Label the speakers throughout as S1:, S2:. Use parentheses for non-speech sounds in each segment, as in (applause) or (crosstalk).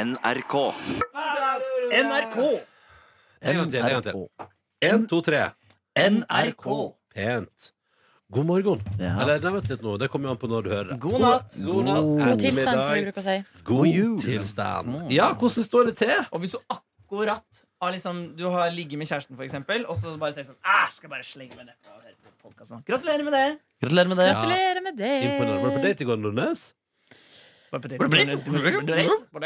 S1: NRK.
S2: NRK.
S3: En gang til. En, gang til. en to, tre.
S2: NRK.
S3: Pent. God morgen.
S1: Ja.
S3: Eller, nei, vent litt nå. Det kommer jo an på når du hører det.
S2: God natt.
S3: God natt.
S4: God tilstand, som vi bruker å si.
S3: God tilstand. Ja, hvordan står det til?
S5: Og hvis du akkurat har liksom, du har ligget med kjæresten, for eksempel, og så bare tenker sånn «Ah, skal bare slenge meg nedpå og høre på podcasten». Gratulerer med det!
S2: Gratulerer med det.
S3: Ja.
S4: Gratulerer med det.
S3: Imponerende. Var du på date i går, Nordnes?
S5: Bare på det- på det- på det- på det- på det.
S3: Var du på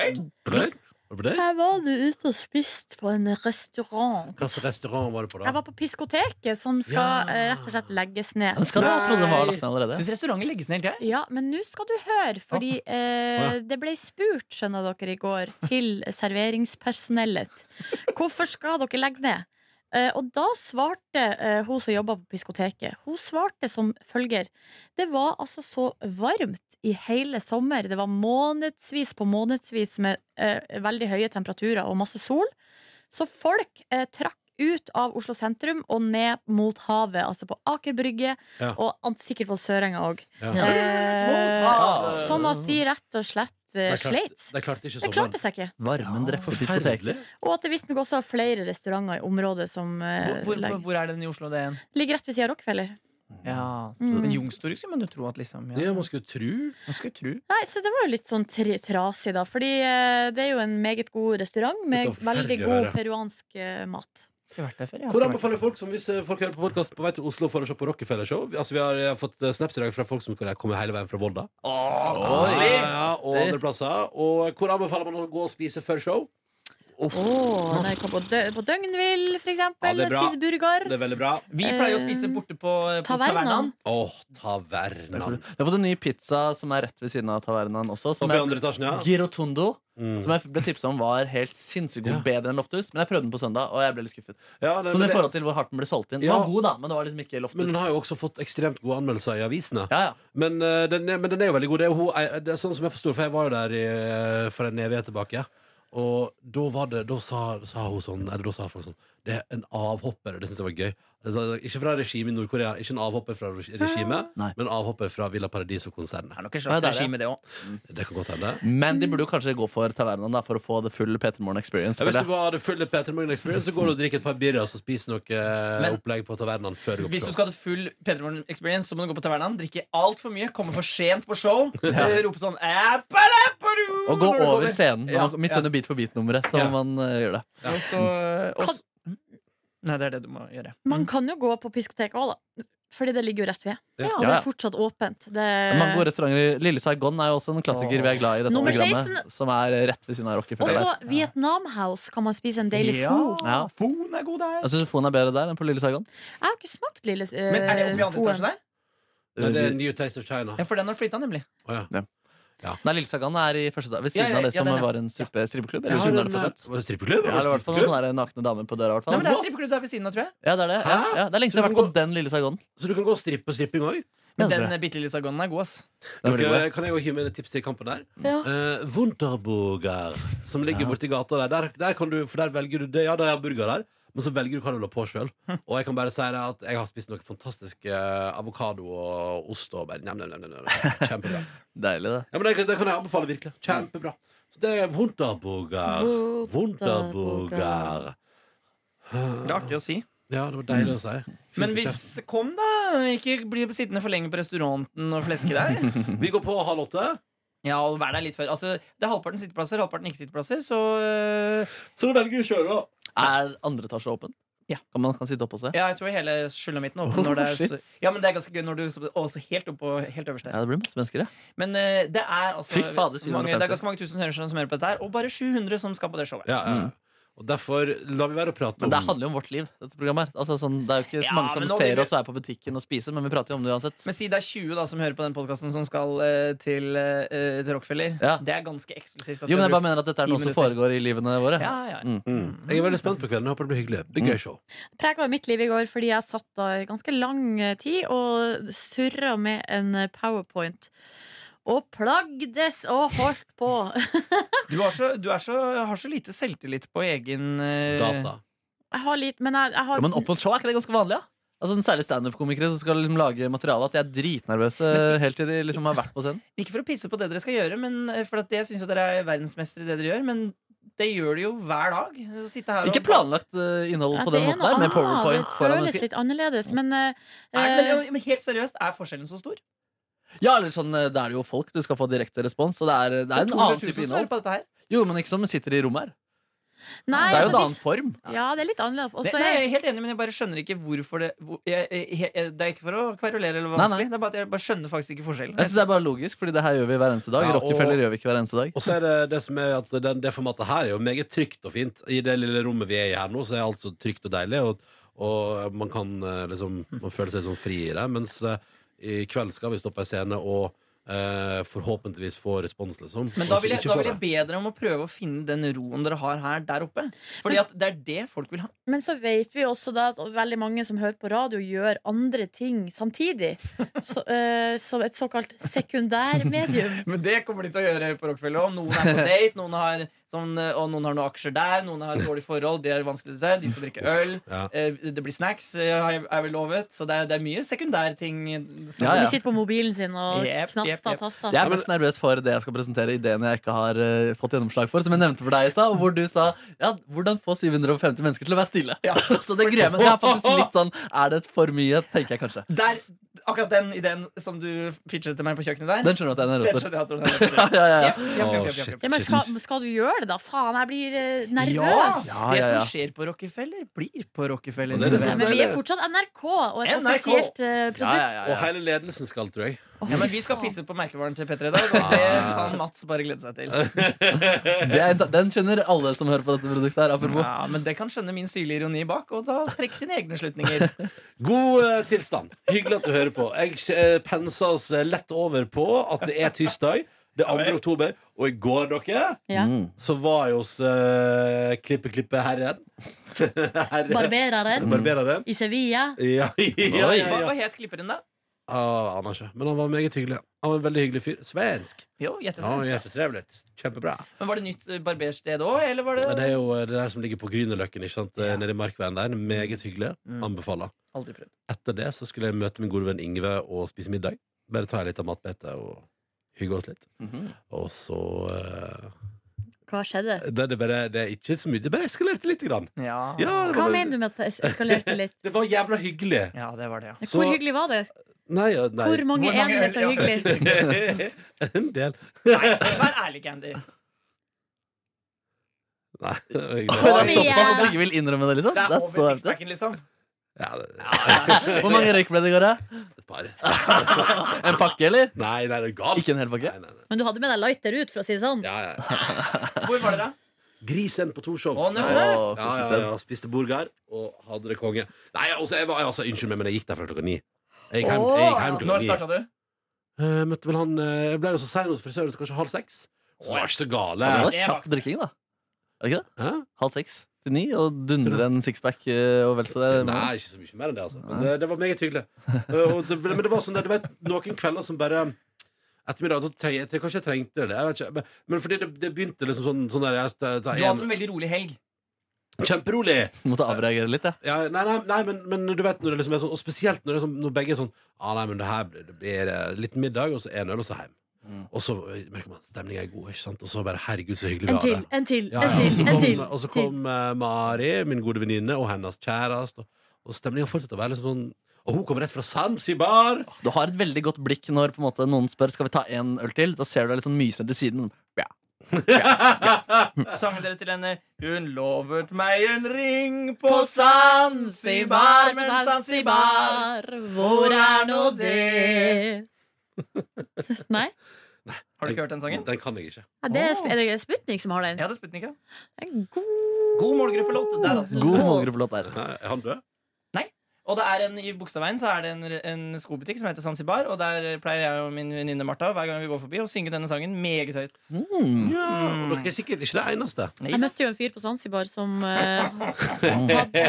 S3: date?
S4: Jeg var nå ute og spiste på en restaurant.
S3: Hvilken restaurant var du på,
S4: Jeg
S3: da?
S4: var på Piskoteket, som
S3: Ja.
S4: skal eh, rett og slett legges ned.
S2: Men skal du ha trodd den var lagt ned allerede?
S5: Syns restauranter legges ned hele tida?
S4: Ja, men nå skal du høre, fordi eh, det ble spurt, skjønner dere, i går til serveringspersonellet. Hvorfor skal dere legge ned? Eh, og da svarte eh, hun som jobba på diskoteket, hun svarte som følger. Det var altså så varmt i hele sommer. Det var månedsvis på månedsvis med eh, veldig høye temperaturer og masse sol. Så folk eh, trakk ut av Oslo sentrum og ned mot havet, altså på Aker Brygge,
S3: Ja.
S4: og an- sikkert på Sørenga òg.
S3: Ja.
S2: Ja.
S4: Eh, Sånn at de rett og slett eh,
S3: De
S4: sleit.
S3: klarte, de klarte ikke
S4: Det
S3: sommeren.
S4: klarte seg ikke.
S2: Varmen drepte diskoteket.
S3: Forferdelig.
S4: Og at det visstnok også var flere restauranter i området som eh,
S5: Hvor, hvor, hvor,
S4: legger-
S5: hvor er den i Oslo, det igjen?
S4: ligger rett ved siden av Rockefeller.
S5: Ja,
S4: Mm.
S5: mm. Youngstorget skulle man jo tro at liksom
S3: Ja,
S5: ja.
S3: man skulle tro.
S5: Man skulle tro.
S4: Nei, så det var jo litt sånn tri trasig, da. Fordi eh, det er jo en meget god restaurant med
S3: Det var forferdelig
S4: veldig
S3: å
S4: god
S3: høre.
S4: peruansk eh, mat.
S5: Ikke vært der før. jeg har
S3: Hvor
S5: ikke vært
S3: anbefaler folk som hvis eh, folk hører på podcast på vei til Oslo for å se på Rockefeller Show? Vi- Altså, vi har eh, fått eh, snaps i dag fra folk som kommer hele veien fra Volda.
S2: Oi.
S3: Ja, ja, og andre plasser. Og hvor anbefaler man å gå og spise før show?
S4: Oh, når jeg kom på, dø på Døgnvill, for
S3: Ja,
S4: eksempel.
S3: det er bra.
S4: spise burger.
S3: Det er veldig bra.
S5: der. Vi pleier å spise
S4: Eh,
S5: borte på, på
S4: Tavernaen.
S5: tavernaen.
S3: Åh, tavernaen.
S2: Jeg har fått en ny pizza som er rett ved siden av tavernaen også. Som
S3: Oppe i
S2: er
S3: andre etasjen, ja.
S2: Girotondo.
S3: Mm.
S2: Som jeg ble tipset om var helt sinnssykt god,
S3: Ja.
S2: bedre enn Loftus. Men jeg prøvde den på søndag, og jeg ble litt skuffet.
S3: ja det,
S2: Sånn i
S3: men, det,
S2: forhold til hvor hardt den ble solgt inn. Den
S3: Ja.
S2: var god, da, men det var liksom ikke
S3: men
S2: Loftus.
S3: den har jo også fått ekstremt gode anmeldelser i avisene.
S2: Ja, ja.
S3: Men, eh, den er, men den er jo veldig god. Det er, jo hun, eh, det er sånn som jeg forstår, for jeg var jo der i, eh, for en evighet tilbake. Og da, var det, da sa, sa hun sånn Eller da sa folk sånn Det er en avhopper. og Det syns jeg var gøy. Altså, Ikke fra regimet i Nord-Korea, ikke en avhopper fra regimet,
S2: Nei.
S3: men en avhopper fra Villa Paradiso-konsernet.
S5: Det er nok et
S2: Ja,
S5: slags
S2: det er det.
S5: regime, det òg.
S3: Det kan godt hende.
S2: Men de burde jo kanskje gå for tavernaen da, for å få the full Peter Morn experience.
S3: Ja, hvis
S2: føler
S3: du var det fulle Peter Morgan Experience, så går du og drikker et par birrer og så spiser noe eh,
S5: Men-
S3: opplegg på tavernaen før du går
S5: Hvis
S3: på
S5: du
S3: show.
S5: skal ha det full Peter Morgan experience, så må du gå på tavernaen, drikke altfor mye, komme for sent på show,
S2: (laughs)
S5: eh, rope sånn «Æpalaparu!»
S2: jeg. Og gå
S5: når du
S2: over
S5: kommer.
S2: scenen.
S5: Ja,
S2: og midt
S5: ja.
S2: under Beat for beat-nummeret. Så
S5: Ja.
S2: man eh, gjør det.
S5: Og så og s- Mm. Nei, det er det du må gjøre.
S4: Mm.
S5: Mm.
S4: Man kan jo gå på diskoteket òg, da. Fordi det ligger jo rett ved.
S3: Ja.
S2: Ja,
S4: Og det
S2: ja.
S4: er fortsatt åpent. Det...
S5: Eh,
S2: Mange gode restauranter. i- Lille Saigon er jo også en klassiker vi er glad i. i dette
S4: Nummer
S2: programmet
S4: 16.
S2: Som er rett ved siden av
S4: Og
S2: Rockefeller.
S4: så Vietnam House kan man spise en deilig
S5: ja.
S4: fo.
S2: Ja. Altså,
S5: Foen er god der.
S2: Jeg syns foen er bedre der enn på Lille Saigon.
S4: Jeg har ikke smakt lille eh,
S5: Men er det oppe i andre
S4: foen.
S5: etasje der?
S3: Nei,
S2: Eh,
S3: det er New Taste of China.
S5: Ja, for den har flytta, nemlig.
S3: Å, ja.
S2: Nei, Lille Saigon er i første dag, ved
S5: Ja,
S2: siden
S5: ja,
S2: av det
S5: ja,
S2: som
S5: den, ja.
S2: var en strippe strippeklubb.
S3: Jeg
S2: Eller
S3: har
S2: siden av
S3: en,
S2: det, for sent.
S3: eh, var det strippeklubb?
S2: Ja, det var i hvert fall noen sånne nakne damer på døra. i hvert
S5: Nei,
S2: fall
S5: men Det er strippeklubb der ved siden av, tror jeg.
S2: Ja, det er det. Ja,
S3: Hæ?
S2: ja. Det er lenge siden jeg har vært på den lille Saigon.
S3: Så du kan gå og strippe på stripping òg?
S2: Ja, det
S5: Men den
S2: tror jeg.
S5: eh, bitte lille sargonen er god, ass.
S2: Den er veldig god, ja.
S3: Kan jeg også hive med et tips til kampen der?
S4: Ja.
S3: Eh, Wunderburger, som ligger borti gata der. Der, der, kan du, for der velger du det. Ja, det er burger der, men så velger du hva du vil ha på sjøl.
S2: Hm.
S3: Og jeg kan bare si deg at jeg har spist noe fantastisk eh, avokado og ost og bare njam, njam, njam, njam, njam. Kjempebra.
S2: Deilig, det.
S3: Ja, men det, det kan jeg anbefale virkelig. Kjempebra. Så det er Wunderburger. Wunderburger.
S5: Det er artig å si.
S3: Ja, det var deilig å si. Fint
S5: Men
S3: i
S5: hvis Kom, da! Ikke bli sittende for lenge på restauranten og fleske
S2: (laughs)
S5: der.
S3: kjeften. Mhm. Vi går på halv åtte.
S5: Ja, og vær der litt før. Altså, det er halvparten sitteplasser, halvparten ikke-sitteplasser, så øh,
S3: Så du velger å kjøre.
S2: Er andre etasje åpen?
S5: Ja.
S2: Kan man kan sitte oppe og se?
S5: Ja, jeg tror hele
S2: (laughs)
S5: skjulamitten åpen når det er så, Ja, men det er ganske gøy når du Også helt opp på helt øverst
S2: Ja,
S5: der.
S2: det blir masse mennesker, ja.
S5: Men øh, det er altså
S2: Fy fader, sier
S5: mange, Det
S2: 150.
S5: er ganske mange tusen hører som hører på dette her, og bare 700 som skal på det showet.
S3: Ja, ja. Og derfor lar vi være å prate
S5: Oh.
S2: Men det
S3: om
S2: handler jo om vårt liv, dette programmet. her. Altså, sånn, det er jo ikke så
S5: Ja,
S2: mange som
S5: men nå
S2: ser
S5: driver-
S2: oss og er på butikken og spiser, men vi prater jo om det uansett.
S5: Men si det er 20 da som hører på den podkasten som skal øh, til, øh, til Rockefeller.
S2: Ja.
S5: Det er ganske eksklusivt. at
S2: Jo,
S5: vi
S2: men jeg
S5: har
S2: bare
S5: brukt
S2: mener at dette er
S5: ti
S2: noe som
S5: minutter.
S2: foregår i livene våre.
S5: Ja, ja, ja.
S2: Mm.
S3: Mm. Jeg er veldig spent på kvelden. Jeg Håper det blir hyggelig. Det
S5: Mm.
S3: blir gøy show.
S4: prega jo mitt liv i går fordi jeg satt da i ganske lang eh, tid og surra med en eh, powerpoint. Og plagdes og holdt på.
S5: Du, har så, du er så, har så lite selvtillit på egen øh,
S3: Data.
S4: Jeg har litt, men jeg, jeg
S2: Ja,
S4: har
S2: men opp mot show, er ikke det ganske vanlig? Ja? Altså sånn Særlig standup-komikere som skal liksom lage materiale. At de er eh, dritnervøse helt til de liksom har vært på scenen.
S5: Ikke for å pisse på det dere skal gjøre, men eh, for at jeg syns dere er verdensmestere i det dere gjør. Men det gjør de jo hver dag. Å sitte her og-
S2: Ikke planlagt eh, innhold
S4: Ja,
S2: på
S4: det
S2: den
S4: er
S2: måten
S4: noe
S2: der, med
S4: annet.
S2: powerpoint
S4: Det
S2: foran
S4: føles
S2: mennesker.
S4: litt annerledes, men eh,
S5: Nei, men, men helt seriøst, er forskjellen så stor?
S2: Ja, eller sånn, eh, Da er det jo folk du skal få direkte respons, og det er, det er en
S5: 200 000
S2: annen type
S5: som hører
S2: innhold.
S5: på dette her.
S2: Jo, men ikke som sitter i rommet her.
S4: nei,
S2: Det er jo
S4: altså,
S2: en
S4: de-
S2: annen form.
S4: Ja, det er litt annerledes. Og
S5: Nei,
S4: så
S5: nei, jeg
S4: er
S5: er helt enig, men jeg bare skjønner ikke hvorfor det hvor, jeg, jeg, jeg, Det er ikke for å kverulere eller
S2: Nei,
S5: være vanskelig. Det er bare at jeg bare skjønner faktisk ikke forskjellen.
S2: Jeg synes Det er bare logisk, fordi det her gjør vi hver eneste dag.
S3: Ja, og-
S2: Rockefeller gjør vi ikke hver eneste dag.
S3: Og så er det det som er at den, det formatet her er jo meget trygt og fint. I det lille rommet vi er i her nå, så er alt så trygt og deilig, og, og man kan eh, liksom Man føler seg sånn fri i det. Mens eh, i kveld skal vi stå på en scene og eh, forhåpentligvis få respons, liksom.
S5: Men
S3: Og
S5: da
S3: så
S5: vil, jeg,
S3: ikke
S5: da
S3: få
S5: vil jeg
S3: det.
S5: be dere om å prøve å finne den roen dere har her der oppe. Fordi
S4: Men s-
S5: at det er det folk vil ha.
S4: Men så vet vi også da at veldig mange som hører på radio, gjør andre ting samtidig. Så, eh, som et såkalt sekundærmedium.
S5: Men det kommer de til å gjøre på Rockefeller. Og noen
S2: (laughs)
S5: er på date, noen har, sånn, og noen har noen aksjer der, noen har dårlige forhold, det er vanskelig å se, de skal drikke øl.
S3: Ja.
S5: eh, Det blir snacks, eh, har jeg- er vel lovet. Så det er, det er mye sekundærting. som-
S2: Ja,
S4: Og
S2: ja.
S4: de sitter på mobilen sin og
S5: Jep, jep,
S4: knaster
S5: jep.
S4: og taster.
S2: Jeg er mest nervøs for det jeg skal presentere, ideen jeg ikke har eh, fått gjennomslag for. Som jeg nevnte for deg i stad, og hvor du sa ja, hvordan få 750 mennesker til å være stille.
S5: Ja.
S2: Så det gruer jeg meg. Det er faktisk litt sånn Er det for mye, tenker jeg kanskje.
S5: Der, akkurat den ideen som du pitchet til meg på kjøkkenet der,
S2: Den skjønner du at jeg er
S5: den
S2: nervøs for.
S5: skjønner jeg at du er nervøs
S2: (laughs) Ja,
S5: for.
S2: ja, ja,
S5: Ja,
S2: ja.
S5: ja, ja, ja,
S3: Å,
S5: ja,
S3: shit.
S5: ja.
S4: Ja, men skal, skal du gjøre det, da? Faen, jeg blir eh, nervøs.
S5: Ja,
S2: Ja,
S5: det
S2: ja, ja.
S5: som skjer på Rockefeller, blir på Rockefeller.
S3: Og det er det som
S5: mine
S3: er
S5: venner.
S4: Men vi er fortsatt NRK og et
S5: NRK.
S4: offisielt eh, produkt.
S2: Ja, ja, ja,
S3: Og
S2: ja.
S3: hele ledelsen skal, tror jeg.
S5: ja, men vi skal pisse på merkevaren til Petter i dag, og det kan Mats bare glede seg til.
S2: Det er, den skjønner alle som hører på dette produktet her. Apropos.
S5: Ja, Men det kan skjønne min syrlige ironi bak, og da trekke sine egne slutninger.
S3: God eh, tilstand. Hyggelig at du hører på. Jeg eh, pensa oss eh, lett over på at det er tirsdag. Det er 2. oktober. Og i går, dere,
S4: Ja.
S2: Mm.
S3: så var jeg hos eh, Klippe Klippe Herren. (laughs) Herre,
S2: (laughs)
S4: Barbereren
S3: barbereren.
S4: i Sevilla.
S3: Ja, (laughs) ja, ja,
S5: Hva,
S3: ja.
S5: hva het klipperen, da?
S3: Ah, aner ikke. Men han var meget hyggelig. Han var en veldig hyggelig fyr. Svensk.
S5: Jo,
S3: Ja,
S5: gjettesvensk.
S3: Hjertetrevlig. Kjempebra.
S5: Men var det nytt eh, barbersted òg, eller var
S3: Det
S5: det
S3: er jo eh, det der som ligger på Grünerløkken, ikke sant? Eh, nede i Markveien der. Meget hyggelig.
S5: Mm.
S3: Anbefaler.
S5: Aldri prøvd.
S3: Etter det så skulle jeg møte min gode venn Ingve og spise middag. Bare ta litt av matbete og hygge oss litt.
S2: Mhm.
S3: Og så eh,
S4: Hva skjedde?
S3: det, det, bare, det er ikke så mye. Det bare eskalerte litt. Grann.
S5: Ja.
S3: Ja, det,
S4: Hva
S3: var,
S4: mener du med at det eskalerte
S3: (laughs)
S4: litt?
S3: det var jævla hyggelig.
S5: ja, det var det, ja.
S4: Hvor
S3: Så-
S4: hyggelig var det?
S3: Nei, ja, nei.
S4: Hvor mange
S5: Hvor mange øl,
S4: enheter
S5: ja.
S4: hyggelig?
S3: (laughs) en del.
S5: Nei, så vær ærlig, Candy.
S3: Nei, det var hyggelig.
S2: Oi, det er
S4: Kom
S2: såpass at du
S4: igjen.
S2: ikke vil innrømme det, liksom?
S5: Det er
S2: Det er
S5: over
S2: så heftig.
S5: sixpacken, liksom.
S3: Ja, det,
S2: Hvor mange røyk ble det i går? da?
S3: et par.
S2: En pakke, eller?
S3: Nei, nei, det er galt.
S2: Ikke en hel pakke?
S3: Nei, nei, nei.
S4: Men du hadde med deg lighter ut, for å si det sånn.
S3: Ja, ja.
S5: Hvor var dere?
S3: Grisen på Torshov.
S5: Å, nei,
S2: Å,
S5: for det er-
S3: ja, ja, ja, spiste burger og hadde det konge. Nei, altså, jeg var, altså, unnskyld meg, men jeg gikk derfra klokka ni. Jeg gikk hjem, jeg gikk hjem klokka
S5: Når
S3: ni.
S5: starta du?
S3: Eh, møtte vel han eh, Jeg ble jo så sein hos frisøren, så kanskje halv seks. Så det var ikke så gale.
S2: Det var
S5: Det er
S2: kjapp
S5: faktisk-
S2: drikking, da. Er det ikke det?
S3: Hæ?
S2: Halv seks til ni, og dundrer en sixpack eh, og vel så det.
S3: Nei, ikke så mye mer enn det, altså. Men det, det var meget hyggelig. Eh, og det, ble- men det var sånn der, du vet, noen kvelder som bare Ettermiddag, så treng, jeg, Kanskje jeg trengte det. Jeg vet ikke, men, men fordi det, det begynte liksom sånn, sånn der jeg, det,
S5: Du hadde en veldig rolig helg.
S3: Kjemperolig!
S2: Måtte avreagere litt, jeg.
S3: Ja, nei, nei, nei men, men du vet når det liksom er sånn Og spesielt når, det er sånn, når begge er sånn ah, nei, men det her blir, det blir eh, litt middag, og så en øl, og så hjem. Og så eh, merker man at stemningen er god, ikke sant? Og så bare herregud, så hyggelig vi
S4: En
S3: har
S4: til,
S3: det.
S4: en til,
S3: Ja,
S4: en
S3: ja, og så
S4: til. en
S3: kom-
S4: til.
S3: Og så kom eh, Mari, min gode venninne, og hennes kjæreste. Og, og stemninga fortsetter å være liksom sånn Og hun kommer rett fra Zanzibar!
S2: Du har et veldig godt blikk når på en måte, noen spør Skal vi ta en øl til. Da ser du deg litt sånn mysende til siden. Ja.
S5: Sang dere til henne Hun lovet meg en ring på Zanzibar, men Zanzibar hvor er nå det?
S3: (laughs)
S4: Nei?
S5: Har du ikke hørt den sangen?
S3: Den kan jeg ikke.
S4: Ja, det er, Sp- er det Sputnik som har den?
S5: Ja, det er Sputnik, ja.
S4: En god
S5: God målgruppelåt. Der, altså.
S2: God målgruppelåt der.
S3: Nei, Er han død?
S5: Og det er en, I Bogstadveien så er det en, en skobutikk som heter Zanzibar. Og der pleier jeg og min venninne Martha hver gang vi går forbi å synge denne sangen meget høyt.
S2: (laughs) Mm.
S3: Ja, og dere er sikkert ikke det eneste.
S4: Jeg møtte jo en fyr på Zanzibar som eh, hadde,
S3: date,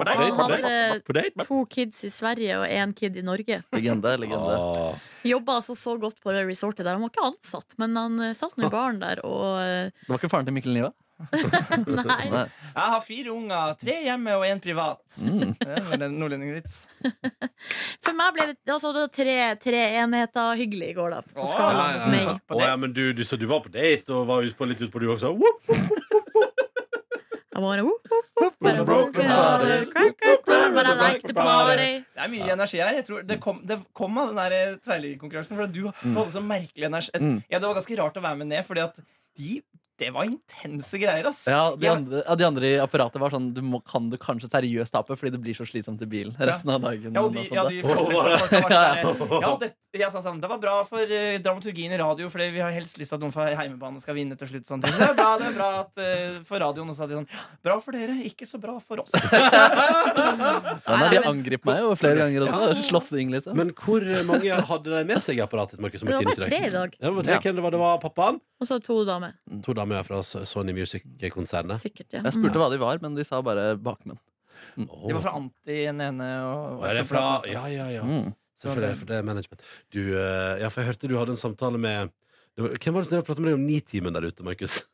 S5: på date, på
S4: han
S5: date.
S4: hadde
S3: På date?
S4: to kids i Sverige og én kid i Norge.
S2: Legende. legende
S3: Åh.
S4: Jobba altså så godt på det resortet der. Han var ikke ansatt, men han eh, satt nå i baren der og eh,
S2: Det var ikke faren til Mikkel Niva?
S4: Nei.
S2: Nei.
S5: Jeg har fire unger, tre hjemme og én privat.
S2: Mm.
S5: Det er vel en nordlendingvits.
S4: For meg ble det altså, det var tre, tre enheter hyggelig i går, da. På
S5: Åh,
S4: skalaen
S5: ja,
S4: hos meg.
S5: ja. På
S3: Å, ja,
S5: date.
S3: men du, du, så du var på date og var ut på, litt utpå, du også? Whoop!
S4: I wanna whoop, whoop, whoop,
S2: Wanna rock the body.
S4: Crack, crack, crack, but I like to party.
S5: Det er mye energi her. Jeg tror det, kom, det kom av den der eh, tverrliggerkonkurransen. For at du, du hadde så merkelig energi. Et,
S2: Mm.
S5: ja, det var ganske rart å være med ned, fordi at de Det var intense greier, ass.
S2: Ja, de
S5: Ja.
S2: andre, ja, de andre i apparatet var sånn Du må, kan du kanskje seriøst tape fordi det blir så slitsomt i bilen resten av dagen.
S5: Ja, og de, ja, de plutselig så folk var sånn, ja, og det, jeg sa sånn, det var bra for eh, dramaturgien i radio, Fordi vi har helst lyst til at noen fra heimebane skal vinne til slutt. Sånn. ting. Det er bra, det er bra at, eh, for radioen også. at de Sånn, bra for dere, ikke så bra for oss.
S2: Ja, nei, de
S4: Nei, men-
S2: angrep meg jo flere ganger også. Slåssing, liksom.
S3: Men hvor mange hadde de med seg i apparatet? Markus, som
S4: Det var
S3: Martine
S4: bare
S3: Strøk?
S4: tre i dag.
S3: Ja, det, var tre.
S2: Ja.
S3: Hvem det, var, det var pappaen.
S4: Og så to damer.
S3: To damer fra Sony Music-konsernet.
S4: Sikkert, ja.
S2: Jeg spurte hva de var, men de sa bare bakmenn.
S5: De var fra Anti den ene. Og,
S3: Å, er det fra Ja, ja, ja.
S2: Mm.
S3: Selvfølgelig, for det er management. Du, eh, ja, for jeg hørte du hadde en samtale med det var, Hvem var det som drev og pratet med deg om Nitimen der ute, Markus?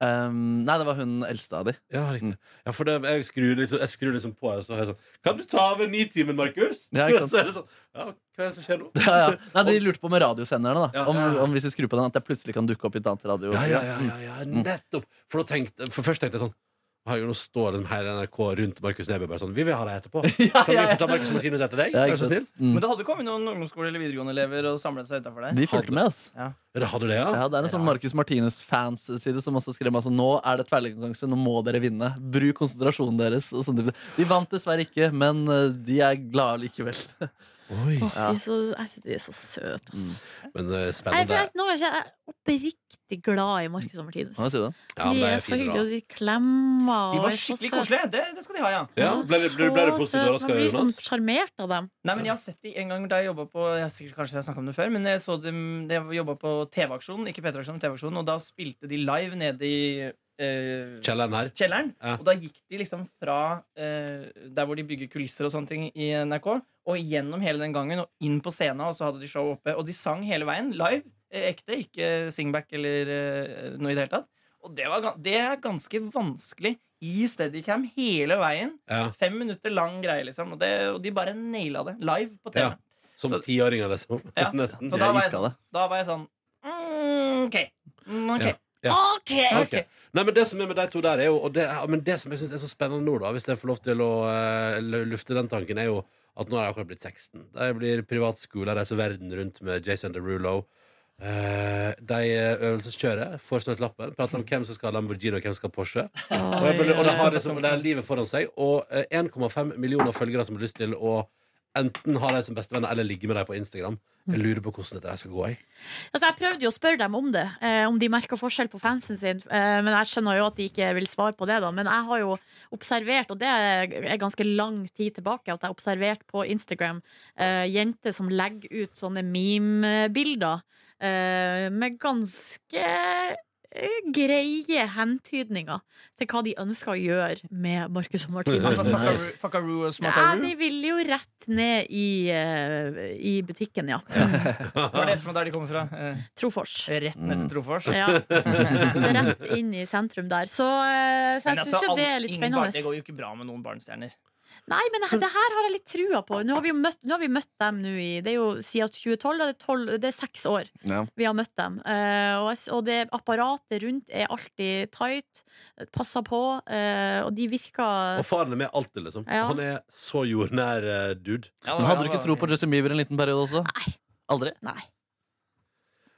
S2: Um, nei, det var hun eldste av de. (laughs)
S3: Ja, riktig. Ja, for det, jeg, skrur liksom, jeg skrur liksom på her, og så hører jeg sånn Kan du ta over Nitimen, Markus?
S2: Ja, ikke sant.
S3: (laughs) Så er det sånn Ja, hva er det som skjer nå?
S2: Ja, ja. Nei, De lurte på med radiosenderne, da.
S3: Ja,
S2: Om,
S3: ja, ja.
S2: om hvis vi skrur på den, at jeg plutselig kan dukke opp i et annet radio.
S3: Ja, ja, ja, ja, ja Mm. nettopp! For, da tenkte, for først tenkte jeg sånn Herregud, nå står liksom hele NRK rundt Markus Neby bare sånn Vi vil ha deg etterpå. Kan vi få ta Markus og Martinus etter deg?
S2: Ja,
S3: Vær
S2: ikke
S3: så snill.
S2: sant? Mm.
S5: Men det hadde kommet noen ungdomsskole- eller videregående-elever og samlet seg utafor der.
S2: De fulgte med, ass.
S3: Ja, det hadde det, ja?
S2: Ja, det er en sånn Marcus Martinus-fans-side som også skrev altså, Nå er det tverrliggerkonkurranse, nå må dere vinne. Bruk konsentrasjonen deres. Og sånn type. De vant dessverre ikke, men eh, de er glade (laughs) likevel.
S3: Oi,
S4: Åh, de, er så, jeg synes de er så søte, ass.
S3: men eh,
S4: Jeg,
S3: spennende.
S4: jeg, nå er jeg jeg er oppriktig glad i Marcus og Martinus.
S2: Hva sier du?
S3: Ja, men
S4: de
S3: det
S4: er
S3: er
S4: så
S3: fint,
S4: hyggelige,
S3: da.
S4: og de klemmer.
S5: De
S4: og er
S5: var
S4: så
S5: skikkelig
S4: søte.
S5: koselige. Det, det skal de ha, ja.
S3: Ja, ble, ble, ble, ble du positivt
S4: Så søt.
S3: overraska,
S4: Man blir sånn
S3: Jonas?
S4: sjarmert av dem.
S5: Nei, men Jeg har sett de en gang da jeg jobbet på Jeg har sikkert kanskje jeg snakket om det før Men jeg så dem Jeg jobba på TV-aksjonen, ikke P3-aksjonen, men TV-aksjonen, og da spilte de live nede i eh,
S3: Kjelleren her.
S5: kjelleren.
S3: Ja.
S5: Og da gikk de liksom fra eh, der hvor de bygger kulisser og sånne ting i NRK, og gjennom hele den gangen og inn på scenen, og så hadde de show oppe. Og de sang hele veien live. eh, Ekte, ikke singback eller eh, noe i det hele tatt. Og det, var, gan- det er ganske vanskelig i Steadicam hele veien.
S3: Ja.
S5: Fem minutter lang greie, liksom. Og, det, og de bare naila det. Live på TV.
S3: Ja. Som
S5: Så-
S3: tiåringer, liksom.
S5: Ja.
S3: (laughs) Nesten.
S5: Så
S2: Jeg
S5: da var jeg
S2: elsker det.
S5: Da var jeg sånn mm, OK. Mm, ok.
S3: Ja. Ja.
S5: OK!
S3: Ok. Nei, men Det som er med de to der, er jo og det, ja, Men det som jeg synes er så spennende nå, da hvis jeg får lov til å eh, lu- lufte den tanken, er jo at nå har jeg akkurat blitt 16. De blir privatskole, reiser verden rundt med Jason Derulo. Eh, de øvelseskjører, får snart lappen, prater om hvem som skal ha Lamborghini og hvem som skal ha Porsche. Og, jeg, bare- og de har liksom, det er livet foran seg. Og eh, 1,5 millioner følgere som har lyst til å enten ha dem som bestevenner eller ligge med dem på Instagram. Jeg lurer på hvordan dette her skal gå. Jeg.
S4: Altså, jeg prøvde jo å spørre dem om det, eh, om de merka forskjell på fansen sin. Eh, men jeg skjønner jo at de ikke vil svare på det, da. Men jeg har jo observert, og det er ganske lang tid tilbake, at jeg har observert på Instagram eh, jenter som legger ut sånne meme-bilder eh, med ganske eh, greie hentydninger til hva de ønsker å gjøre med Marcus og Martinus.
S5: Altså,
S2: Nice.
S5: fuckaroo- fuckaroo og
S4: Ja, de
S5: smakaroo.
S4: vil jo rett ned i, eh, i butikken, ja.
S5: Hva er det for noe der de kommer fra? Eh,
S4: Trofors.
S5: Rett ned til
S2: Mm.
S5: Trofors.
S4: Ja. Rett inn i sentrum der. Så, eh, så
S5: Men
S4: jeg
S5: altså,
S4: syns jo
S5: alle-
S4: det er litt
S5: ingen barn- Det
S4: spennende.
S5: går jo ikke bra med noen barnestjerner.
S4: Nei, men det, det her har jeg litt trua på. Nå har vi jo møtt, nå har vi møtt dem nå i Det er jo siden 2012, da. Det er, 12, det er seks år
S5: sånn.
S2: Ja.
S4: vi har møtt dem. Eh, og, jeg s- og det apparatet rundt er alltid tight, passer på, eh, og de virker
S3: Og faren er med alltid, liksom.
S4: Ja.
S3: Han er så jordnær eh, dude.
S5: Ja,
S2: Men hadde du ikke
S5: han
S2: tro
S5: var-
S2: på Justin Bieber en liten periode også?
S4: Nei.
S2: Aldri?
S4: Nei.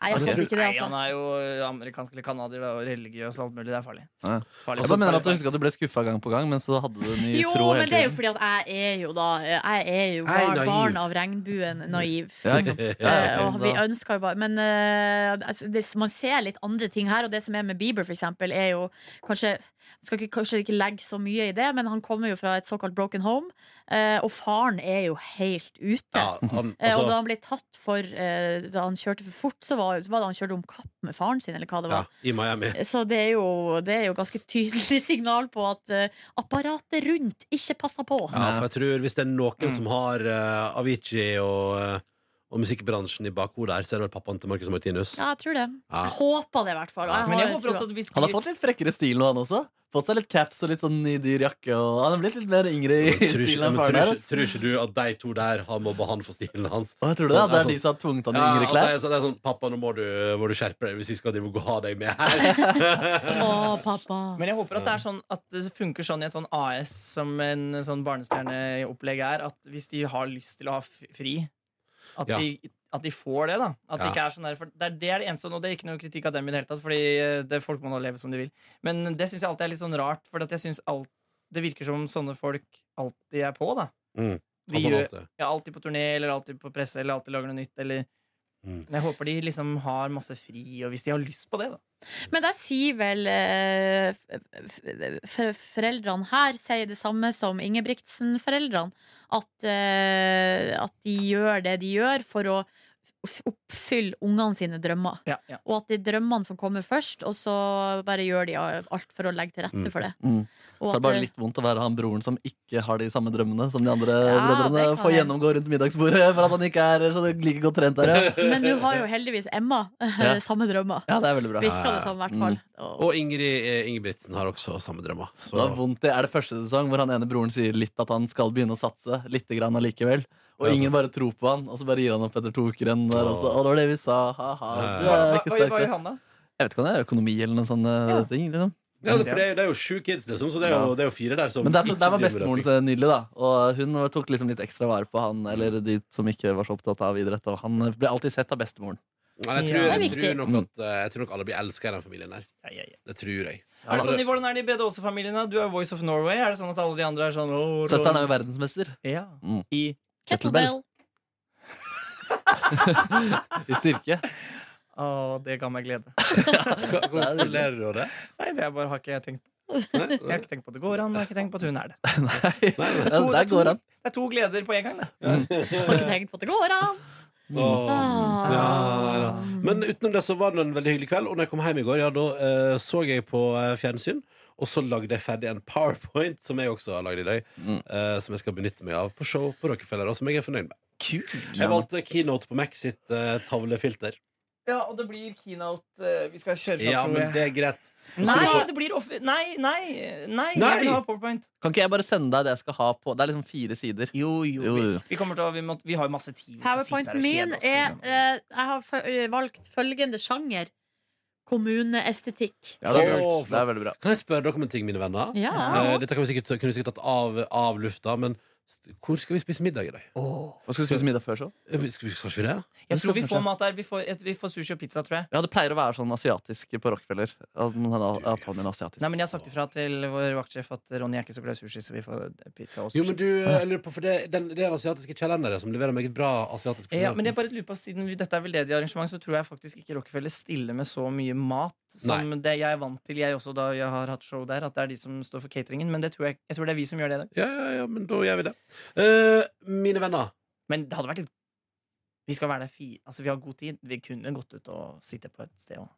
S4: Nei, jeg
S3: Men
S4: hadde
S3: tror-
S4: ikke det,
S5: Nei, han
S4: altså.
S5: er jo eh, amerikansk eller canadier da, og religiøs og alt mulig. Det er farlig.
S2: Ja.
S5: farlig.
S2: Jeg bare mener at du husker at du ble skuffa gang på gang, men så hadde du en ny
S4: Jo,
S2: tro hele
S4: men det er jo
S2: tiden.
S4: fordi at jeg er jo da Jeg er jo
S3: Jeg er
S4: barn,
S3: naiv.
S4: barn av regnbuen, naiv.
S2: Ja, ikke sant?
S4: Eh,
S2: Ja,
S4: og
S2: ok,
S4: vi
S2: da-
S4: ønsker jo bare Men eh, altså, det, man ser litt andre ting her, og det som er med Bieber, for eksempel, er jo kanskje man Skal ikke, kanskje ikke legge så mye i det, men han kommer jo fra et såkalt broken home, eh, og faren er jo helt ute.
S3: Ja, han,
S4: Eh, og
S3: altså,
S4: da han ble tatt for eh, Da han kjørte for fort, så var, så var det han kjørte om kapp med faren sin, eller hva det
S3: ja,
S4: var.
S3: I Miami.
S4: Så det er, jo, det er jo ganske tydelig (laughs) signal på at eh, apparatet rundt ikke passer på.
S3: Ja, for jeg tror Hvis det er noen
S5: Mm.
S3: som har eh, Avicii og, eh, og musikkbransjen i bakhodet her, så er det vel pappaen til Marcus og Martinus.
S4: Ja, jeg tror det.
S3: Ja.
S4: Jeg håper det, i hvert fall. og
S3: Ja,
S5: Men
S4: har
S5: jeg
S4: jo
S5: håper
S4: trua.
S5: også at vi
S2: Han har
S5: skriver-
S2: fått litt frekkere stil nå, han også. Fått seg litt caps og litt sånn ny, dyr jakke. Og han er blitt litt mer yngre i
S3: Men
S2: (laughs)
S3: Tror
S2: stilen enn
S3: ikke,
S2: faren
S3: men tror ikke,
S2: deres.
S3: tror ikke du at de to der har mobba han for stilen hans?
S2: Å, jeg tror du det?
S3: Sånn,
S2: Det
S3: altså-
S2: er de som har tvunget han i
S3: Ja,
S2: yngre
S3: at
S2: klær?
S3: det er så- det er sånn, Pappa, nå må du, må du skjerpe deg hvis vi skal drive og gå- ha deg med
S2: (laughs)
S3: her.
S4: Å, pappa.
S5: Men jeg håper at det er sånn At det funker sånn i et sånn AS som en sånn barnestjerneopplegg er, at hvis de har lyst til å ha f- fri, at,
S3: Ja.
S5: de, at de får det. da At det
S3: Ja.
S5: ikke er sånn der for det, er, det er det eneste, og det er ikke noe kritikk av dem i det hele tatt, Fordi eh, det, folk må nå leve som de vil. Men det syns jeg alltid er litt sånn rart, for at jeg synes alt, det virker som sånne folk alltid er på. da
S3: Mm.
S5: Vi
S3: Pappa
S5: gjør,
S3: valgte det.
S5: ja, alltid på turné, eller alltid på presse, eller alltid lager noe nytt, eller
S3: Mm.
S5: Men jeg håper de liksom har masse fri, og hvis de har lyst på det, da.
S4: Men der sier vel eh, f- f- foreldrene her sier det samme som Ingebrigtsen-foreldrene. At, eh, at de gjør det de gjør for å f- oppfylle ungene sine drømmer.
S5: Ja, ja.
S4: Og at det er drømmene som kommer først, og så bare gjør de alt for å legge til rette
S3: Mm.
S4: for det.
S2: Mm.
S4: Og
S2: Så er det
S4: at
S2: bare litt vondt å være han broren som ikke har de samme drømmene som de andre
S4: Ja,
S2: brødrene
S4: det kan
S2: får
S4: jeg.
S2: gjennomgå rundt middagsbordet (laughs) for at han ikke er så like godt trent
S3: (laughs)
S2: der. Ja,
S4: Men du har jo heldigvis Emma.
S2: Ja.
S4: (laughs) Samme drømmer.
S2: ja Mm. det er veldig bra.
S4: Virker det som, i hvert fall. Og-
S3: Og Ingrid eh, Ingebrigtsen har også samme drømmer. Så-
S2: Det var vondt, det er det første sesong hvor han ene broren sier litt at han skal begynne å satse. Litt grann allikevel Og
S3: Ja, sant.
S2: ingen bare tror på han, og så bare gir han opp etter to uker. igjen Der, altså.
S3: Åh.
S2: Og det var det vi sa. Ha-ha. Du
S3: Ja,
S2: er
S5: Hva,
S2: ikke
S5: hva,
S2: sterk.
S5: hva gjør
S2: Jeg
S5: han, da?
S2: vet ikke om det er økonomi eller noen sånne
S5: Ja.
S2: ting. Liksom.
S3: Ja, det, for det, er, jo- det er jo sju kids, liksom, så det er jo, det er jo fire der som
S2: Men der, der
S3: ikke
S2: var
S3: driver med
S2: bestemoren
S3: rapping.
S2: så nydelig, da. Og hun var- tok liksom litt ekstra vare på han, eller de som ikke var så opptatt av idrett. Og han ble alltid sett av bestemoren.
S3: Men
S5: Ja.
S3: jeg
S5: Det
S3: tror,
S5: er
S3: jeg,
S4: viktig.
S3: tror nok at, eh, jeg tror nok alle blir elska i den familien der.
S5: Ja, ja, ja.
S3: Det tror jeg.
S5: Er
S2: Altså,
S5: det sånn, i- Hvordan er det i Bedåse-familien? da? Du er Voice of Norway. Er det sånn at alle de andre er sånn «Åh,
S2: Søsteren er jo verdensmester
S5: Ja.
S2: Mm.
S5: I
S2: Kettlebell. i (laughs) styrke.
S5: Å, det ga meg
S2: (laughs)
S5: glede.
S3: Hvorfor ler du av det?
S5: Nei, det er bare har ikke jeg tenkt på. Jeg har ikke tenkt på at det går an, og jeg har ikke tenkt på at hun er det.
S2: Nei,
S5: Det er
S2: ja,
S5: to- det er
S2: der
S5: to-
S2: går han.
S5: Det er to gleder på en gang, det.
S4: Har ikke tenkt på at det går an!
S2: Mm.
S3: Åh.
S4: Ah.
S3: Ja, ja. Men utenom det så var det en veldig hyggelig kveld. Og når jeg kom hjem i går, ja, da eh, så jeg på eh, fjernsyn. Og så lagde jeg ferdig en powerpoint, som jeg også har lagd i dag.
S2: Mm.
S3: eh, som jeg skal benytte meg av på show på Rockefeller, og som jeg er fornøyd med. Jeg valgte keynote på Mac sitt eh, tavlefilter.
S5: Ja, og det blir keynote. eh, Vi skal kjøre fra,
S3: Ja,
S5: tror
S3: men
S5: jeg.
S3: det er greit.
S5: Nei, det blir off... Nei, nei, nei,
S3: Nei!
S5: jeg vil ha powerpoint.
S2: Kan ikke jeg bare sende deg det jeg skal ha på Det er liksom fire sider.
S5: Jo, jo.
S2: Jo, jo.
S5: Vi, vi, kommer til å, vi, må, vi har jo masse tid. Vi skal sitte her og
S4: Powerpointen min
S5: kjede oss.
S4: er eh, Jeg har fø- eh, valgt følgende sjanger. Kommuneestetikk.
S2: Ja, det er,
S3: Åh,
S2: kult. det er veldig bra.
S3: Kan jeg spørre dere om en ting, mine venner?
S4: Ja.
S3: Eh, dette kan vi sikkert, kunne vi sikkert tatt av, av lufta, men st- hvor skal vi spise middag i dag?
S2: Hva skal du spise middag før show?
S3: Eh, vi- Skal, vi- skal ikke vi det?
S5: Jeg tror vi
S2: Kanskje.
S5: får mat der. Vi får, et, vi får sushi og pizza, tror jeg.
S2: Ja, det pleier å være sånn asiatisk på Rockefeller. At man har avtalen min er asiatisk.
S5: Nei, men Jeg har sagt ifra til vår vaktsjef at Ronny er ikke så glad i sushi, så vi får pizza og sushi.
S3: Jo, men du, eh, jeg lurer på, for det, den, det er den asiatiske kalenderen som leverer meget bra asiatisk
S5: Eh, Ja, men jeg
S3: det,
S5: bare lurer på, Siden vi- dette er veldedig arrangement, så tror jeg faktisk ikke Rockefeller stiller med så mye mat som det jeg er vant til, jeg også da jeg har hatt show der, at det er de som står for cateringen. Men det tror jeg, jeg tror det er vi som gjør det i dag.
S3: ja, ja, ja, men da gjør vi det. Eh, mine venner,
S5: Men det hadde vært litt Vi skal være der fi... Altså, vi har god tid. Vi kunne gått ut og sitte på et sted og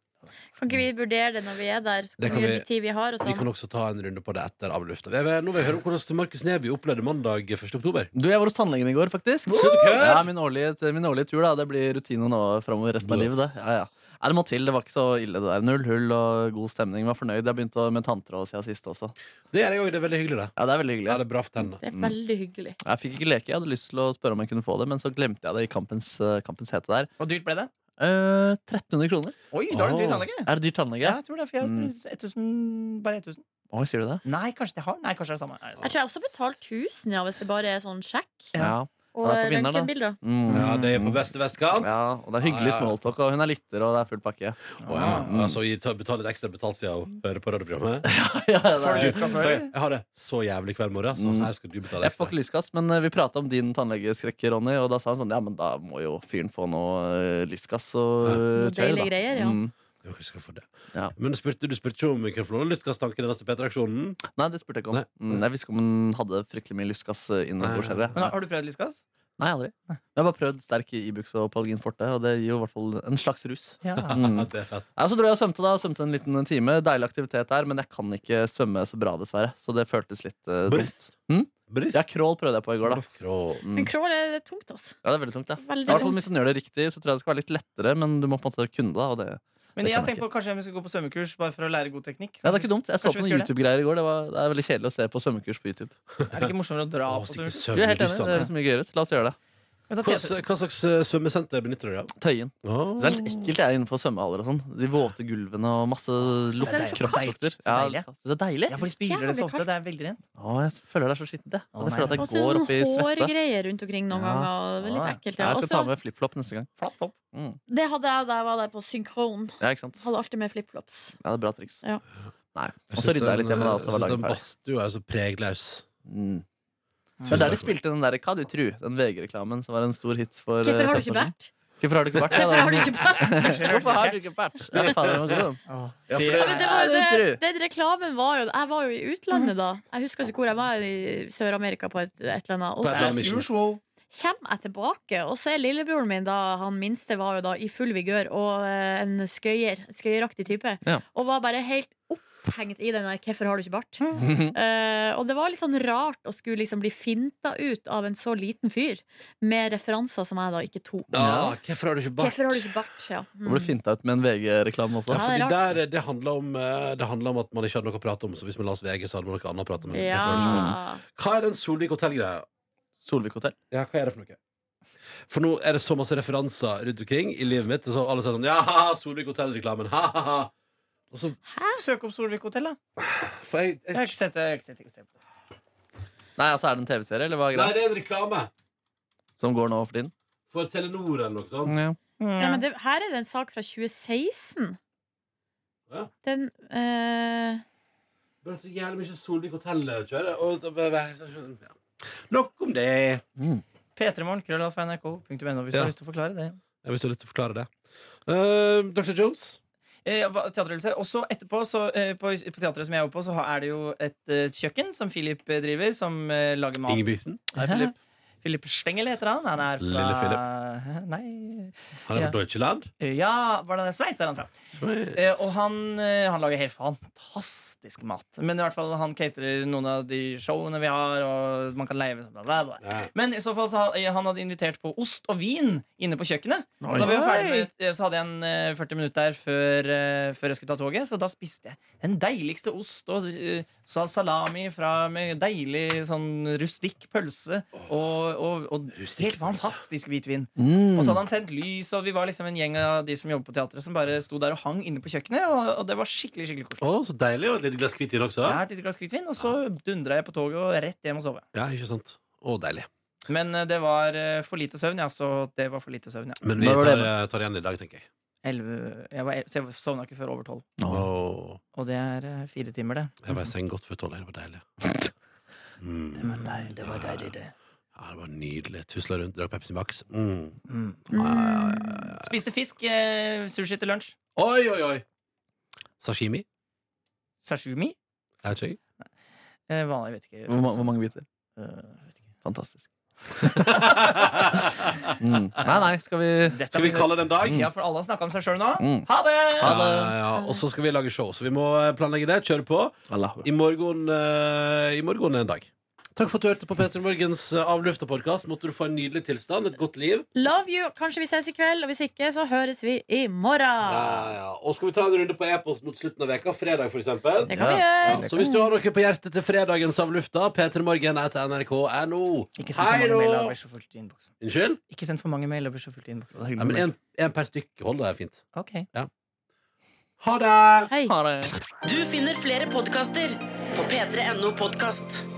S4: Kan ikke vi vurdere det når vi er der?
S3: Det
S4: Hvor
S3: kan
S4: mye
S3: vi-
S4: tid vi har og
S3: vi kan
S4: sånn?
S3: også ta en runde på det etter av lufta. Jeg vil- Nå vil jeg høre om hvordan Markus Neby opplevde mandag 1. oktober.
S2: Du, Jeg var hos tannlegen i går, faktisk.
S3: Slutt å kødde!
S2: Ja, min, årlige, min årlige tur. da Det blir rutine nå framover resten av livet. Det ja, ja. Nei, det må til. Det var ikke så ille. det der Null hull og god stemning. Var fornøyd. Jeg begynte å- med tanntråd siden sist også.
S3: Det er jeg òg. Det er veldig hyggelig, det.
S2: Ja, Det er veldig
S3: Ja,
S2: hyggelig.
S3: det er bra for
S2: Mm.
S3: tennene.
S4: Det er veldig hyggelig.
S2: Jeg fikk ikke leke. Jeg hadde lyst til å spørre om jeg kunne få det, men så glemte jeg det i kampens, eh, kampens hete der.
S5: Hvor dyrt ble det?
S2: Eh, 1300 kroner.
S5: Oi, da er det dyrt
S3: Åh.
S5: anlegg!
S2: Er det dyr tannlege?
S5: Ja, jeg tror det. For jeg
S2: Mm.
S5: 1000, bare 1000.
S2: Oi, sier du det?
S5: Nei, kanskje det har Nei, kanskje det er samme. Nei,
S4: Jeg tror jeg også betalte 1000, ja, hvis det bare er sånn sjekk.
S5: Ja.
S2: Ja.
S4: Og eh,
S2: Ja, det er på vinneren, da.
S4: røntgenbilder.
S2: Mm.
S3: Ja, det er på beste vestkant.
S2: ja. Og det er hyggelig
S3: Ja, ja.
S2: smalltalk, og hun er lytter, og det er full pakke.
S3: Å, ja. Altså, jeg tar- betaler litt ekstra betalt siden jeg hører på
S2: (laughs)
S3: radioprogrammet.
S2: (laughs) ja, det
S5: Får
S2: er-
S5: du lyskast,
S3: For jeg,
S5: eller?
S3: jeg har det så jævlig kveld morgen, så
S2: Mm.
S3: her skal du betale
S2: Jeg får
S3: ekstra.
S2: ikke lyskast, men eh, vi prata om din tannlegeskrekk, Ronny, og da sa han sånn Ja, men da må jo fyren få noe eh, lyskast og eh,
S4: Noe
S2: kjør,
S4: deilige
S2: da.
S4: greier, ja.
S2: Mm.
S3: Jo, kanskje jeg skal få det.
S2: Ja.
S3: Men du spurte, du spurte ikke om vi kunne få noen lystgasstanker i neste P3-aksjonen?
S2: Nei, det spurte jeg ikke om.
S3: Nei.
S2: Mm, jeg visste ikke om hun hadde fryktelig mye lyskast eh, innabords
S3: Nei.
S2: heller.
S5: Men har,
S2: Nei,
S5: har du prøvd lysgass?
S2: aldri. Jeg har bare prøvd sterk i Ibux og Palgin Forte, og det gir jo i hvert fall en slags rus.
S5: Ja.
S2: Mm. (laughs)
S3: det er fett.
S2: Nei, så dro jeg og svømte da, svømte en liten time. Deilig aktivitet der, men jeg kan ikke svømme så bra, dessverre. Så det føltes litt eh,
S3: Bare-
S2: dumt. Mm?
S3: Briff.
S2: Ja, Crawl prøvde jeg på i går, da.
S3: Krå-
S2: Mm.
S4: Men crawl er det er tungt, altså.
S2: Ja, det er veldig tungt, ja. I
S4: Veldig
S2: hvert fall
S4: tungt.
S2: Hvis du gjør det riktig, så tror jeg det skal være litt lettere, men du må på en måte kunne det. Og det
S5: Men
S2: Det
S5: jeg
S2: kan jeg
S5: tenker på kanskje vi skal gå på svømmekurs bare for å lære god teknikk.
S2: ja, det er ikke dumt. Jeg så på
S5: Kanskje vi
S2: noen
S5: skal gjøre
S2: YouTube-greier i går. Det, var, det er veldig kjedelig å se på svømmekurs på YouTube.
S5: Er det ikke morsommere å dra
S3: Å,
S5: på
S3: stikke
S5: svømmekurs?
S2: Du er helt
S3: søvn i
S2: enig. Det er
S3: russene.
S2: så mye gøyere. La oss gjøre det.
S5: Men da
S3: Hva,
S5: peser-
S3: hva slags eh, svømmesenter benytter dere?
S2: Tøyen.
S3: Oh.
S2: Så det er
S5: Mm.
S2: litt ekkelt jeg er inne på svømmehaller og sånn. De våte gulvene og masse
S5: så
S2: lukt.
S5: deilig.
S2: Kroppslukter.
S5: Så
S2: Ja,
S5: deilig.
S2: det er deilig.
S5: Ja, for de spyler det så ofte. Det er veldig rent.
S2: Å, jeg føler det er så skittent, jeg.
S5: Å,
S2: Og jeg føler at
S4: Og
S2: jeg
S4: så er
S2: går
S4: det
S2: opp i
S4: sånn
S2: svette.
S4: hårgreier rundt omkring noen
S2: Ja.
S4: ganger. og Det
S5: Ja.
S4: er litt ekkelt.
S2: Ja,
S4: Ja.
S2: jeg skal ta
S4: Også-
S2: med flipflop neste gang. Mm.
S4: det hadde jeg da jeg var der på synkron.
S2: Ja, ikke sant?
S4: Hadde alltid med flipflops.
S2: Ja, det er bra triks.
S4: Ja.
S2: Nei. Og
S3: Jeg
S2: så
S3: syns
S2: rydda jeg litt
S3: den,
S2: hjemme da,
S3: eh,
S2: og så var
S3: jeg syns
S2: dagen
S3: den
S2: ferdig.
S3: badstue er så pregløs.
S2: Mm.
S5: Mm.
S2: Det er der de
S3: Tusen takk.
S2: spilte den der Hva du tru? Den VG-reklamen som var en stor hit for eh,
S4: Hvorfor har du
S2: et år
S4: ikke
S2: siden.
S4: vært?
S2: Hvorfor har du ikke vært?
S4: Hvorfor har du ikke vært?
S2: (laughs) Hvorfor har du ikke vært? Ja, faen, den var sånn. god, den.
S3: Ja, for
S5: Det-
S4: Ja, men det var
S2: Ja,
S4: jo
S2: det tror
S4: det, den reklamen var jo Jeg var jo i utlandet da. Jeg husker ikke hvor jeg var. I Sør-Amerika på et, et eller annet. Og
S3: På et eller
S4: så
S3: annet.
S4: kommer jeg tilbake, og så er lillebroren min, da han minste, var jo da i full vigør og eh, en skøyer. Skøyeraktig type.
S2: Ja.
S4: Og var bare helt opphengt i den der 'hvorfor har du ikke bart'? Eh, og det var litt sånn rart å skulle liksom bli finta ut av en så liten fyr, med referanser som jeg da ikke tok.
S3: Ah, hvorfor har du ikke bart?
S4: Hvorfor har du ikke bart? Ja. Mm.
S2: Og ble finta ut med en VG-reklame også.
S3: Ja,
S4: det
S3: fordi
S4: er rart.
S3: der, eh, det, handler om, eh, det handler om at man ikke hadde noe å prate om. Så hvis man las VG, så hadde man noe annet å prate om. Hvorfor har du ikke bart?
S4: Ja.
S3: Hva er den Solvik Hotell-greia?
S2: Solvik hotell.
S3: Ja, hva er det for noe? For nå er det så masse referanser rundt omkring i livet mitt. Så alle sier sånn Ja, haha, Solvik Hotell-reklamen. Ha, ha, ha. Og så
S5: Søk opp Solvik hotell, da.
S3: får jeg,
S5: Jeg har ikke sett det. Jeg har ikke sett det.
S2: Nei, altså Er det en TV-serie eller hva er
S3: Nei,
S2: greia?
S3: det er en reklame
S2: som går nå for tiden?
S3: for Telenor eller noe sånt.
S2: Ja.
S5: Mm.
S4: Ja, men det, her er det en sak fra 2016.
S3: Ja.
S4: Den eh,
S3: Det er så jævlig mye Solvik Hotell-kjøret. og da bare- bare- ja. Nok om det.
S5: P3morgen, krøllalfa.nrk.no, hvis du
S3: Ja.
S5: har lyst til å forklare det.
S3: Jeg har lyst til å forklare det. Eh, Dr. Jones.
S5: Eh, hva- teaterøvelse. Også etterpå, så, eh, på, på teatret som jeg er oppe på, så har- er det jo et eh, kjøkken som Philip eh, driver, som eh, lager mat.
S3: Ingebrigtsen.
S2: Hei, Philip.
S5: (laughs) Philip Stengel heter han. Han er fra
S3: Lille
S5: (laughs) Nei
S3: (laughs) Han er fra Deutschland.
S5: eh, Ja, var det det? Sveits er han fra. Eh, og han, eh, han lager helt fantastisk mat. Men i hvert fall han caterer noen av de showene vi har, og man kan leie bla, bla, bla.
S3: Ja.
S5: Men i så fall så hadde, han hadde invitert på ost og vin inne på kjøkkenet.
S2: Oi.
S5: Så da vi var ferdig med, eh, så hadde jeg en eh, 40 minutter der før, eh, før jeg skulle ta toget, så da spiste jeg den deiligste ost og eh, sa- salami fra, med deilig sånn rustikk pølse og, og, og
S3: Rustikk
S5: helt fantastisk hvitvin.
S2: Mm.
S5: Og så hadde han tent lys, og vi var liksom en gjeng av de som jobber på teatret, som bare sto der og hang inne på kjøkkenet, og, og det var skikkelig skikkelig koselig.
S3: Å, så deilig. Og et lite glass hvitvin også.
S5: Jeg har et lite glass hvitvin, og så dundra jeg på toget og rett hjem og sove.
S3: Ja, ikke sant? Å, deilig.
S5: Men eh, det var eh, for lite søvn, ja. Så det var for lite søvn, ja.
S3: Men vi
S2: Når var det
S3: tar, tar igjen i dag, tenker jeg.
S5: Elleve- jeg, var, el- så jeg sovna ikke før over tolv.
S3: Å,
S5: Og det er eh, fire timer, det.
S3: jeg var i seng godt før tolv. Det var deilig.
S5: det
S3: Mm.
S5: var deilig, det.
S3: Ja, det var nydelig. Tusla rundt, drakk Pepsi Max. Mm.
S4: mm,
S5: Spiste fisk, eh, sushi til lunsj.
S3: Oi, oi, oi! Sashimi?
S5: Sashimi?
S3: Er det ikke?
S5: Eh, vanlig, jeg vet ikke.
S2: Hvor, ma hvor mange biter?
S5: Eh, vet ikke.
S2: Fantastisk. Mm. Nei, nei, skal vi
S5: Dette
S3: Skal vi
S5: er-
S3: kalle det en dag?
S5: Ja, for alle har snakka om seg sjøl nå.
S2: Mm.
S5: Ha det!
S2: Ha
S3: Mm. Ja, ja. Og så skal vi lage show, så vi må eh, planlegge det. Kjøre på.
S2: Allahu.
S3: I morgen, eh, I morgen er en dag. Takk for at du hørte på Peter Morgens eh, avlufta podkast. Måtte du få en nydelig tilstand, et godt liv.
S4: Love you! Kanskje vi ses i kveld, og hvis ikke, så høres vi i morgen.
S3: Ja, ja. Og skal vi ta en runde på e-post mot slutten av veka, fredag for eksempel
S4: Det kan vi
S2: Ja.
S4: gjøre.
S3: Så hvis du har noe på hjertet til fredagens avlufta, petermorgen er til nrk.no.
S5: Ikke send for
S3: Hei,
S5: mange mailer, det
S3: da!
S5: blir så fullt i innboksen.
S3: Unnskyld?
S5: Ikke send for mange mailer, det blir så fullt i innboksen.
S2: Det er hyggelig
S3: Nei, men
S2: med
S3: en, en per stykke holder det fint.
S5: Ok.
S3: Ha det!
S4: Hei.
S2: deg. Ha det.
S1: Du finner flere podkaster på p3.no podkast.